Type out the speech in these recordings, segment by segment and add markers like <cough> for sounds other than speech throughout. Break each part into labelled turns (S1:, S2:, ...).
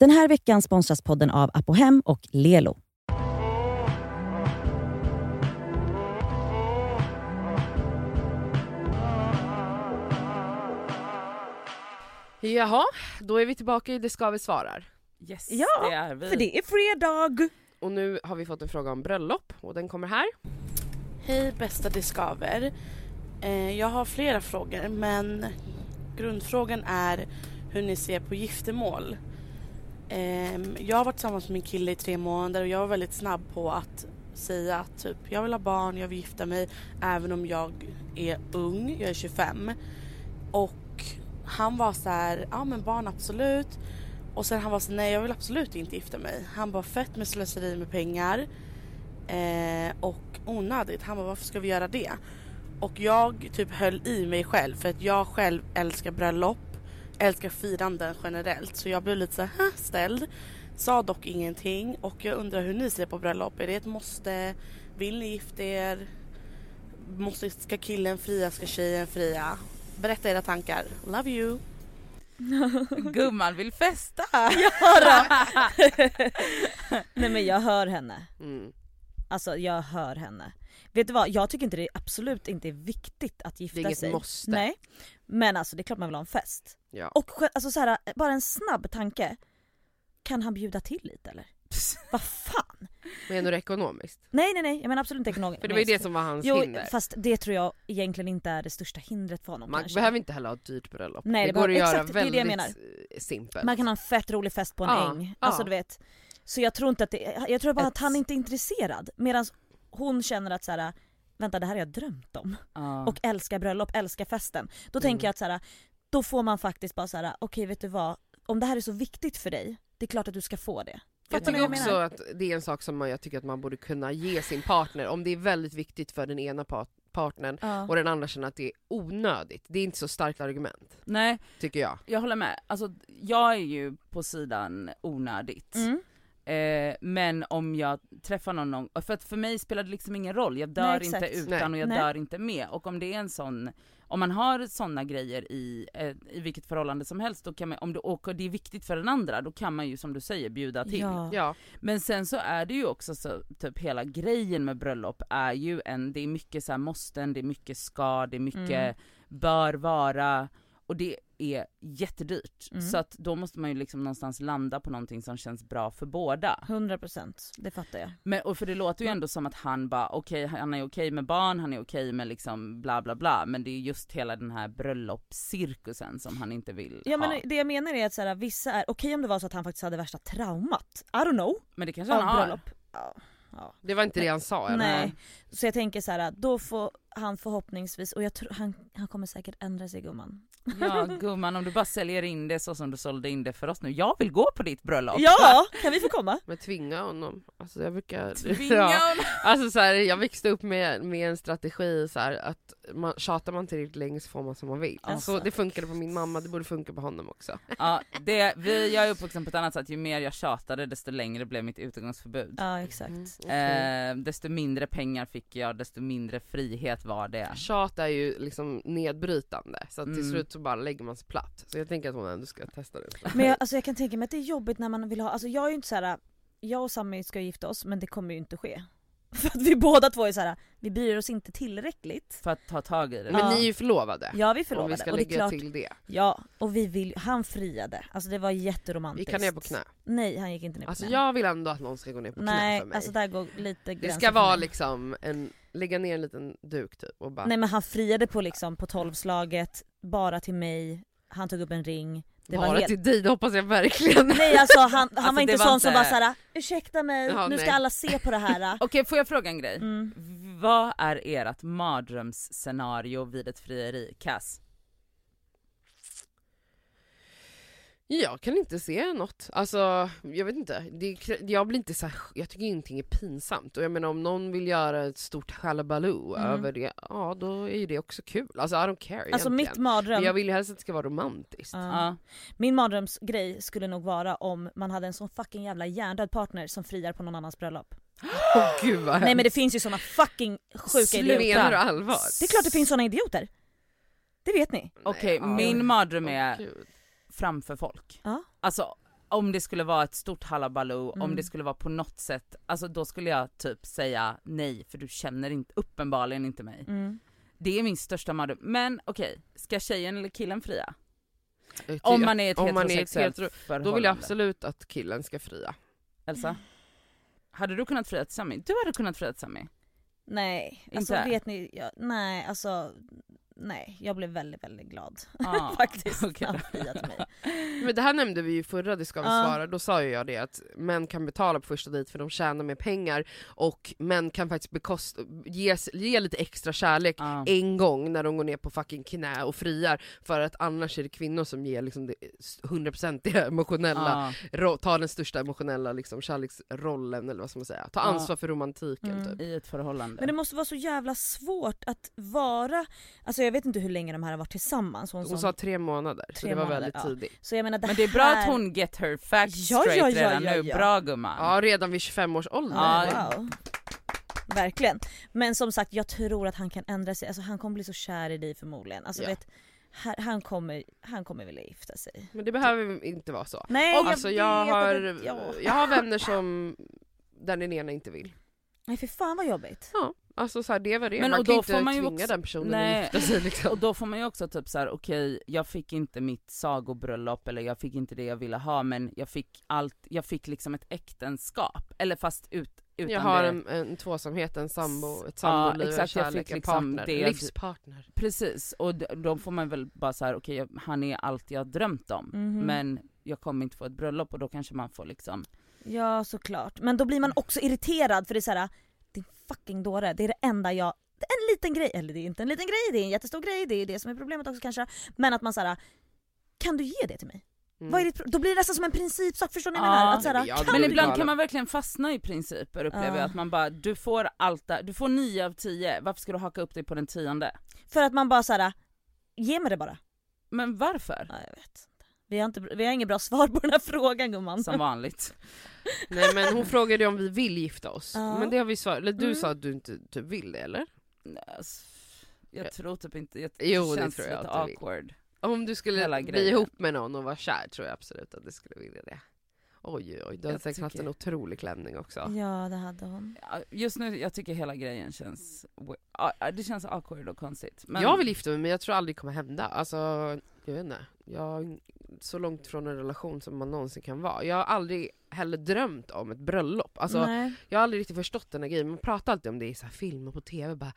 S1: Den här veckan sponsras podden av Apohem och Lelo.
S2: Jaha, då är vi tillbaka i Det ska vi svarar.
S3: Yes,
S4: Ja,
S3: det är vi.
S4: För det är fredag!
S2: Och nu har vi fått en fråga om bröllop och den kommer här.
S3: Hej bästa diskaver. Eh, jag har flera frågor men grundfrågan är hur ni ser på giftermål. Ehm, jag har varit tillsammans med min kille i tre månader och jag var väldigt snabb på att säga att typ, jag vill ha barn, jag vill gifta mig även om jag är ung, jag är 25. Och han var så här, ja men barn absolut. Och sen han var så nej jag vill absolut inte gifta mig. Han bara fett med slöseri med pengar. Eh, och onödigt. Han bara varför ska vi göra det? Och jag typ höll i mig själv för att jag själv älskar bröllop, älskar firanden generellt. Så jag blev lite så här ställd. Sa dock ingenting och jag undrar hur ni ser på bröllop. Är det ett måste? Vill ni gifta er? Måste, ska killen fria? Ska tjejen fria? Berätta era tankar. Love you!
S1: <laughs>
S4: Gumman vill festa!
S1: Nej men jag hör henne.
S2: Mm.
S1: Alltså jag hör henne. Vet du vad, jag tycker inte det är absolut inte är viktigt att gifta
S2: Det är inget
S1: sig.
S2: måste.
S1: Nej. Men alltså det är klart man vill ha en fest.
S2: Ja.
S1: Och själv- alltså så här, bara en snabb tanke. Kan han bjuda till lite
S2: <laughs>
S1: eller? Vad fan?
S2: Menar du ekonomiskt?
S1: Nej nej nej, jag menar absolut inte ekonomiskt.
S2: För det var ju det som var hans
S1: Jo
S2: hinder.
S1: fast det tror jag egentligen inte är det största hindret för honom
S2: Man
S1: kanske.
S2: behöver inte heller ha ett dyrt bröllop.
S1: Nej, det
S2: det går att
S1: behöver-
S2: göra
S1: exakt, det är det
S2: väldigt
S1: jag
S2: eh, simpelt.
S1: Man kan ha en fett rolig fest på en
S2: Ja,
S1: äng.
S2: ja.
S1: Alltså du vet. Så jag tror inte att det, jag tror bara
S2: Ett-
S1: att han inte är intresserad. Medan hon känner att så här, vänta det här har jag drömt om.
S4: Ja.
S1: Och älskar bröllop, älskar festen.
S2: Mm.
S1: Då tänker jag att så här, då får man faktiskt bara så här, okej vet du vad, om det här är så viktigt för dig, det är klart att du ska få det.
S2: jag
S1: Fattar du
S2: tycker
S1: vad jag
S2: också
S1: menar?
S2: att det är en sak som man- jag tycker att man borde kunna ge sin partner om det är väldigt viktigt för den ena part partnern
S1: Ja.
S2: och den andra känner att det är onödigt. Det är inte så starkt argument,
S4: Nej,
S2: tycker jag.
S4: jag håller med. Alltså, jag är ju på sidan onödigt.
S1: Mm.
S4: Eh, men om jag träffar någon, någon för att för mig spelar det liksom ingen roll, jag
S1: Nej,
S4: dör
S1: exakt.
S4: inte utan och jag
S1: Nej.
S4: dör inte med. Och om det är en sån, om man har såna grejer i, eh, i vilket förhållande som helst, då kan man, om det, och det är viktigt för den andra, då kan man ju som du säger bjuda till.
S1: Ja.
S2: Ja.
S4: Men sen så är det ju också så, typ hela grejen med bröllop är ju en, det är mycket så här måsten, det är mycket ska, det är mycket
S1: Mm.
S4: bör vara och det är jättedyrt.
S1: Mm.
S4: Så att då måste man ju liksom någonstans landa på någonting som känns bra för båda.
S1: 100% det fattar jag.
S4: Men, och för det låter ju ändå som att han bara, okej han är okej med barn, han är okej med liksom bla bla bla, men det är just hela den här bröllopscirkusen som han inte vill
S1: Ja, men
S4: ha.
S1: Det jag menar är att så här, vissa är, okej om det var så att han faktiskt hade värsta traumat, I don't know,
S4: Men det kanske
S1: av
S4: han har.
S1: bröllop. Ja.
S2: Det var inte det han sa. eller?
S1: Nej. Så jag tänker så här, då får han förhoppningsvis, och jag tror han, han kommer säkert ändra sig gumman.
S4: Ja gumman om du bara säljer in det så som du sålde in det för oss nu. Jag vill gå på ditt bröllop!
S2: <laughs>
S1: Ja! Kan vi få komma?
S2: Men tvinga honom. Alltså jag brukar... <laughs>
S4: Tvinga
S2: Ja.
S4: honom!
S2: Alltså så här, jag växte upp med, med en strategi så här, att man, tjatar man tillräckligt länge så får man som man vill.
S1: Alltså.
S2: Så det funkade på min mamma, det borde funka på honom också.
S4: Ja, det, vi, jag är uppvuxen på ett annat sätt, ju mer jag tjatade desto längre blev mitt utegångsförbud.
S2: Mm.
S1: Ja exakt.
S2: Eh,
S4: Eh, desto mindre pengar fick jag, desto mindre frihet var det.
S2: Tjat är ju liksom nedbrytande så att till
S4: Mm.
S2: slut så bara lägger man sig platt. Så jag tänker att hon ändå ska testa det.
S1: Men jag, alltså jag kan tänka mig att det är jobbigt när man vill ha, alltså jag är ju inte så här. jag och Sami ska ju gifta oss men det kommer ju inte ske. <laughs> För att vi båda två är så här. vi bryr oss inte tillräckligt.
S4: För att ta tag i det.
S2: Men
S1: Ja.
S2: ni är ju
S1: Ja
S2: förlovade.
S1: vi är
S2: Om Äh, vi
S1: förlovade
S2: ska
S1: och det är
S2: lägga
S1: klart,
S2: till det.
S1: ja och vi vill, han friade, alltså det var jätteromantiskt.
S2: Gick han ner på knä?
S1: Nej han gick inte ner på
S2: Alltså
S1: knä.
S2: jag vill ändå att någon ska gå ner på knä
S1: Nej
S2: för mig.
S1: alltså där går lite
S2: det
S1: gränsen
S2: ska
S1: för
S2: vara
S1: mig.
S2: liksom en, lägga ner en liten duk typ och bara
S1: Nej men han friade på liksom på tolvslaget, bara till mig, han tog upp en ring. Det
S2: bara
S1: var helt...
S2: till dig, det hoppas jag verkligen. <laughs>
S1: Nej alltså han, han
S4: Alltså,
S1: var inte
S4: det var
S1: sån
S4: inte-
S1: som bara såhär ursäkta mig,
S2: Ja,
S1: nu ska
S2: nej.
S1: alla se på det
S2: <laughs>
S1: här.
S4: Okej får jag fråga en grej?
S1: Mm.
S4: Vad är ert mardrömsscenario vid ett frieri? Cass?
S2: Jag kan inte se något. Alltså, jag vet inte. Det, är krä- jag blir inte så här, jag tycker ingenting är pinsamt. Och jag menar om någon vill göra ett stort halabaloo
S1: Mm.
S2: över det, ja då är ju det också kul. Alltså I don't care
S1: Alltså
S2: egentligen.
S1: mitt mardröm,
S2: Men jag vill ju helst att det ska vara romantiskt.
S1: Ja.
S4: Ja.
S1: min mardrömsgrej skulle nog vara om man hade en sån fucking jävla hjärndöd partner som friar på någon annans bröllop.
S2: <laughs> Åh gud vad
S1: Nej men det finns ju såna fucking sjuka
S4: Sluta.
S1: idioter.
S2: Menar du allvar?
S1: Det är klart det finns såna idioter. Det vet ni.
S4: Okej
S2: ja.
S4: min mardröm
S2: Åh,
S4: är
S2: gud.
S4: framför folk.
S1: Ja.
S4: Alltså om det skulle vara ett stort hallabaloo,
S1: Mm.
S4: om det skulle vara på något sätt, alltså då skulle jag typ säga nej för du känner inte, uppenbarligen inte mig.
S1: Mm.
S4: Det är min största mardröm. Men okej, ska tjejen eller killen fria?
S2: Ett-
S4: Om man är i ett
S2: om man är i ett
S4: heterosexuellt
S2: hetero-
S4: förhållande.
S2: Då vill jag absolut att killen ska fria.
S4: Elsa? Hade du kunnat fria till Sami? Du hade kunnat fria
S1: <laughs>
S4: till Sami.
S1: Nej, alltså
S4: Inte?
S1: vet ni, jag, nej alltså nej, jag blev väldigt väldigt glad
S4: Ah,
S1: faktiskt
S4: okej
S1: när
S4: då.
S1: han friade till mig.
S4: <laughs>
S2: Men det här nämnde vi ju i förra det ska vi
S1: Ja.
S2: svara, då sa ju jag det att män kan betala på första dejt för de tjänar mer pengar och män kan faktiskt bekosta, ges, ge lite extra kärlek
S4: Ah.
S2: en gång när de går ner på fucking knä och friar för att annars är det kvinnor som ger liksom det 100% emotionella,
S4: Ah.
S2: ro, tar den största emotionella liksom kärleksrollen eller vad ska man säga, ta
S4: Ja.
S2: ansvar för romantiken
S1: Mm.
S2: typ.
S4: I ett förhållande.
S1: Men det måste vara så jävla svårt att vara, alltså jag vet inte hur länge de här har varit tillsammans. Hon
S2: Hon
S1: som,
S2: sa tre månader, så
S1: Tre
S2: det var
S1: månader,
S2: väldigt
S1: ja.
S2: tidigt.
S1: så jag menar det
S4: Men det är bra
S1: här,
S4: att hon get her facts
S1: Ja, ja,
S4: straight
S1: ja,
S4: redan
S1: ja,
S4: nu.
S1: ja.
S4: Bra gumman.
S2: Ja, redan vid 25 års ålder.
S4: Ja.
S1: Wow. Verkligen. Men som sagt jag tror att han kan ändra sig, alltså han kommer bli så kär i dig förmodligen. Alltså
S2: Ja.
S1: vet, här, han, kommer, han kommer vilja gifta sig.
S2: Men det behöver inte vara så.
S1: Nej jag
S2: alltså jag
S1: vet
S2: har,
S1: att det, ja.
S2: jag har vänner som där den ena inte vill.
S1: Nej för fan vad jobbigt.
S2: Ja, alltså så här, det var det.
S4: Men
S2: man
S4: och
S2: kan
S4: då
S2: inte
S4: får man ju
S2: tvinga
S4: också-
S2: den personen
S4: Nej.
S2: att gifta sig
S4: <laughs> Och
S2: liksom.
S4: då får man ju också typ så här: okej jag fick inte mitt sagobröllop eller jag fick inte det jag ville ha men jag fick allt, jag fick liksom ett äktenskap. Eller fast ut, utan
S2: Jag har
S4: det.
S2: en, en tvåsamhet, en sambo, ett
S4: Ja,
S2: samboliv, en
S4: exakt, jag
S2: kärlek,
S4: fick
S2: en
S4: liksom
S2: partner,
S4: det-
S2: livspartner.
S4: Precis, och d- då får man väl bara så här: okej jag- han är allt jag drömt om
S2: Mm.
S1: Mhm.
S4: men jag kommer inte få ett bröllop och då kanske man får liksom
S1: Ja såklart, men då blir
S2: Mm.
S1: man också irriterad för det är såhär, din fucking dåre, det är det enda jag, det är en liten grej, eller det är inte en liten grej, det är en jättestor grej, det är det som är problemet också kanske. Men att man såhär, kan du ge det till mig?
S2: Mm. Ah,
S1: Vad är ditt pro-" Då blir det nästan som en principsak, förstår ni vad jag
S4: Ja.
S1: menar? Att såhär,
S2: Ja, det
S4: Men
S2: blir
S4: ibland
S2: galet.
S4: kan man verkligen fastna i principer upplever
S1: Ja.
S4: jag, att man bara du får allt, där- du får nio av tio, varför ska du haka upp dig på den tionde?
S1: för att man bara såhär, ge mig det bara.
S4: Men varför?
S1: Ja, jag vet inte. Vi har, inte, vi har inget bra <laughs> svar på den här frågan gumman.
S4: Som vanligt.
S2: Nej men hon frågade ju om vi vill gifta oss.
S1: Ja.
S2: Men det har vi svarat, eller du
S1: Mm.
S2: sa att du inte typ vill det eller?
S4: Nej, alltså, Jag tror typ inte, jag,
S2: Jo, det
S4: känns
S2: tror jag
S4: lite
S2: att du vill.
S4: awkward.
S2: Om du skulle
S4: Hela
S2: bli
S4: grejen.
S2: ihop med någon och vara kär tror jag absolut att du skulle vilja det. Oj oj, oj, du hade
S4: Jag
S2: säkert haft
S4: tycker-
S2: en otrolig klänning också.
S1: <laughs> Ja det hade hon.
S4: Ja, Just nu, jag tycker hela grejen känns, ja, ja, det känns awkward och konstigt. Men
S2: Jag vill gifta mig men jag tror aldrig det kommer hända. Alltså, jag vet inte. Jag är så långt från en relation som man någonsin kan vara. Jag har aldrig heller drömt om ett bröllop. Alltså,
S1: Nej.
S2: jag har aldrig riktigt förstått den här grejen. Man pratar alltid om det i så här filmer på tv. Bara,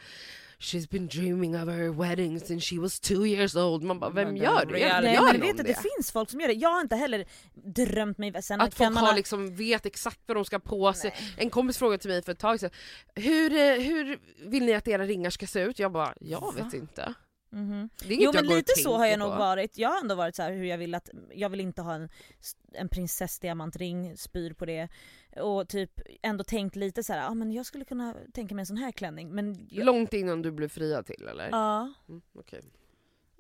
S2: She's been dreaming of her wedding since she was two years old. Man bara, vem
S4: Men
S2: gör
S4: den
S2: det?
S4: reality-
S1: Nej
S2: gör
S1: men
S2: någon
S1: vet att det
S2: det?
S1: finns folk som gör det. Jag har inte heller drömt mig, sen
S2: Att
S1: kan
S2: folk
S1: man
S2: har
S1: ha-
S2: liksom, vet exakt vad de ska ha på sig.
S1: Nej.
S2: En kompis frågade till mig för ett tag sedan, hur, eh, hur vill ni att era ringar ska se ut? Jag bara, jag vet
S4: Va?
S2: inte.
S1: Mhm.
S2: Det är inget
S1: Jo
S2: jag
S1: men
S2: går och
S1: lite så har
S2: tänker
S1: jag nog
S2: på.
S1: varit. Jag har ändå varit så här hur jag vill att, jag vill inte ha en, en prinsessdiamantring, spyr på det. Och typ ändå tänkt lite så här, ja ah, men jag skulle kunna tänka mig en sån här klänning men... Jag,
S2: Långt innan du blev friad till eller?
S1: ja.
S2: Mm, okej.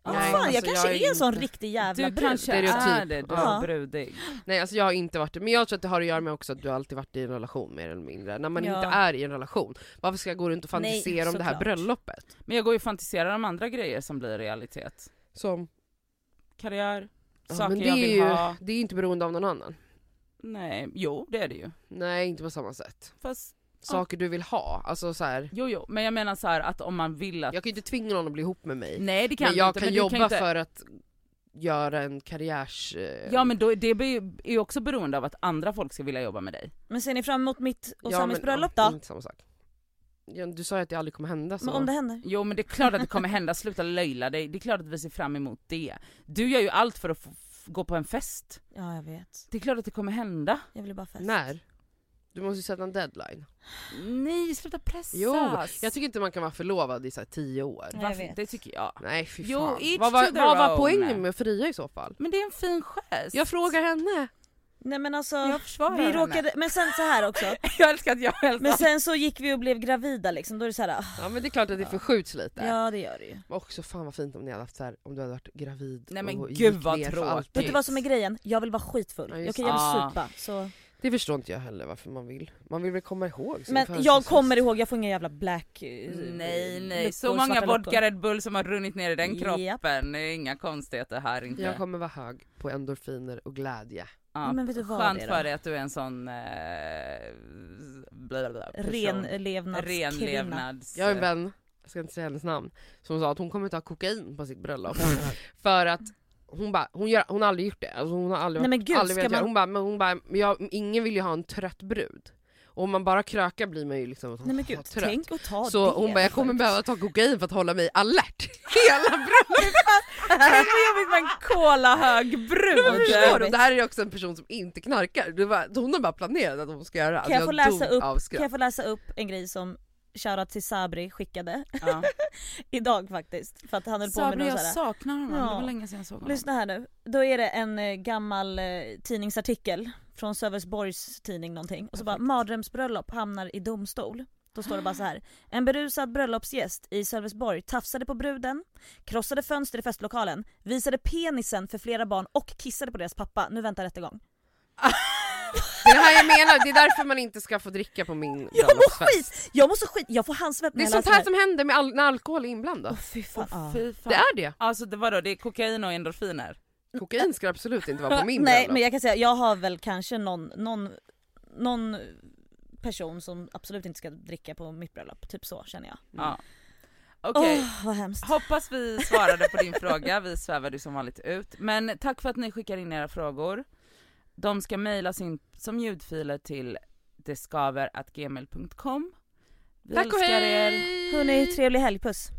S1: Ja,
S2: Nej,
S1: fan jag
S2: alltså,
S1: kanske
S2: jag
S1: är
S2: är
S1: en sån
S2: inte-
S1: riktig jävla
S4: du
S1: brud.
S4: kanske
S2: typ Stereotyp.
S4: är det, du
S1: Ja.
S4: är brudig.
S2: Nej alltså jag har inte varit det, men jag tror att det har att göra med också att du alltid varit i en relation mer eller mindre. När man
S1: Ja.
S2: inte är i en relation, varför ska jag gå runt och
S1: Nej,
S2: fantisera om det här
S1: såklart.
S2: bröllopet?
S4: Men jag går ju och fantiserar om andra grejer som blir realitet.
S2: Som,
S4: Karriär,
S2: Ja,
S4: saker
S2: men det
S4: jag
S2: är
S4: vill
S2: ju-
S4: ha.
S2: det är inte beroende av någon annan.
S4: Nej, jo det är det ju.
S2: Nej inte på samma sätt.
S4: Fast,
S1: Ah.
S2: Saker du vill ha, alltså så här.
S4: jo jo, men jag menar så här att om man vill att...
S2: jag kan ju inte tvinga någon att bli ihop med mig.
S4: Nej det kan
S2: men
S4: du
S2: jag
S4: inte,
S2: kan
S4: men du
S2: jobba
S4: kan inte...
S2: för att göra en karriärs... eh,
S4: Ja men då, det blir ju- är ju också beroende av att andra folk ska vilja jobba med dig.
S1: Men ser ni fram emot mitt och
S2: ja,
S1: Samis
S2: men-
S1: bröllop
S2: ja,
S1: då?
S2: Inte samma sak. Ja, Du sa ju att det aldrig kommer hända så.
S1: Men om det händer?
S4: Jo men det är klart att det kommer hända, sluta löjla dig. Det är klart att vi ser fram emot det. Du gör ju allt för att få, f- gå på en fest.
S1: Ja jag vet.
S4: Det är klart att det kommer hända.
S1: Jag vill bara fest.
S2: När? Du måste ju sätta en deadline.
S4: Nej sluta pressas.
S2: Jo, Jag tycker inte man kan vara förlovad i så här tio år.
S1: Nej, jag
S4: Varför?
S1: vet.
S4: Det tycker jag.
S2: Nej fy
S4: Jo,
S2: fan.
S4: each
S2: vad var,
S4: to their
S2: vad var
S4: own.
S2: poängen med att fria i så fall?
S4: Men det är en fin gest.
S2: Jag frågar henne.
S1: Nej men alltså,
S4: Jag försvarar
S1: vi
S4: henne.
S1: råkade, men sen så här
S2: <laughs>
S1: också.
S4: <laughs> Jag älskar att jag älskar.
S1: Men sen så gick vi och blev gravida liksom, då är det så här, ah,
S2: Ja men det är klart att det förskjuts lite.
S1: ja det gör det ju.
S2: Men också fan vad fint om ni hade haft så här, om du hade varit gravid
S4: Nej, men
S2: och
S4: gud,
S2: gick
S4: vad
S2: ner för
S4: tråkigt.
S2: allt.
S1: Vet du vad som är grejen? Jag vill vara skitfull.
S2: Ja,
S1: Okej
S2: just
S1: jag
S2: Ah.
S1: vill
S4: det.
S1: supa. Så.
S2: Det förstår inte jag heller varför man vill. Man vill väl komma ihåg sin
S1: Men jag
S2: födelsedag.
S1: kommer ihåg, jag får inga jävla black... eh,
S4: Nej nej,
S1: luckor,
S4: så många
S1: svarta
S4: vodka
S1: luckor.
S4: Red Bull som har runnit ner i den
S1: Japp.
S4: kroppen. Det är inga konstigheter här inte.
S2: Jag kommer vara hög på endorfiner och glädje.
S4: Ja. Ja,
S1: men vet du vad,
S4: Skönt
S1: det är
S4: för
S1: då?
S4: dig att du är en sån eh, bla bla bla, person.
S1: Ren levnadskvinna.
S4: Ren levnads...
S2: Jag har
S1: eh,
S4: <laughs>
S2: en vän, jag ska inte säga hennes namn, som sa att hon kommer ta kokain på sitt
S1: <laughs>
S2: bröllop. för att hon bara, hon, gör, hon har aldrig gjort det. Alltså hon har aldrig,
S1: Nej,
S2: varit-
S1: men gud,
S2: aldrig
S1: ska
S2: velat göra-
S1: man-
S2: Hon bara, men hon bara men jag, ingen vill ju ha en trött brud. Och om man bara krökar blir man ju liksom
S1: Nej men
S2: "Åh,
S1: gud,
S2: trött.
S1: tänk att ta
S2: Så
S1: det.
S2: hon bara, jag kommer behöva ta kokain för att hålla mig alert hela bröllopet.
S1: Tänk vad jobbigt med en kolahög
S2: Men
S1: brud!
S2: <laughs> förstår du? Det här är ju också en person som inte knarkar. Det var, hon har bara planerat att hon ska göra. Alltså,
S1: Kan jag få läsa
S2: dog
S1: upp-
S2: av skratt.
S1: Kan jag få läsa upp en grej som shoutout till Sabri skickade <laughs>
S4: Ja.
S1: idag faktiskt. För att han höll på med
S4: Sabri
S1: någon
S4: jag
S1: såhär,
S4: saknar honom, det
S1: Ja.
S4: var länge sedan jag såg honom.
S1: Lyssna här nu. Då är det en eh, gammal eh, tidningsartikel från Sölvesborgs tidning någonting. Och så bara
S4: Perfekt.
S1: mardrömsbröllop hamnar i domstol. Då står det bara så här. En berusad bröllopsgäst i Sölvesborg tafsade på bruden, krossade fönster i festlokalen, visade penisen för flera barn och kissade på deras pappa. Nu väntar rättegång.
S2: Det är det här jag menar, det är därför man inte ska få dricka på min
S1: <laughs> Jag mår
S2: bröllopsfest.
S1: skit! alltså- Jag mår så skit, jag får handsvett
S2: Det
S1: när
S2: är
S1: jag
S2: sånt
S1: läser
S2: här
S1: här.
S2: som händer med all, när alkohol är inblandat.
S1: Åh fy fan.
S4: Åh,
S1: ja.
S4: fy fan.
S2: Det är det.
S4: Alltså det var då, det är kokain och endorfiner.
S2: Kokain ska absolut inte vara på min
S1: Nej
S2: bröllop.
S1: men jag kan säga jag har väl kanske någon, någon, någon person som absolut inte ska dricka på mitt bröllop, typ så känner jag.
S4: Ja.
S1: Åh
S4: Okej,
S1: vad hemskt.
S4: hoppas vi svarade på din fråga, vi svävar ju som vanligt ut. Men tack för att ni skickar in era frågor. De ska mejlas in som ljudfiler till detskaver.gmail.com. Vi
S2: Tack och
S4: älskar
S2: hej!
S4: er.
S1: Hörni, trevlig helg, puss.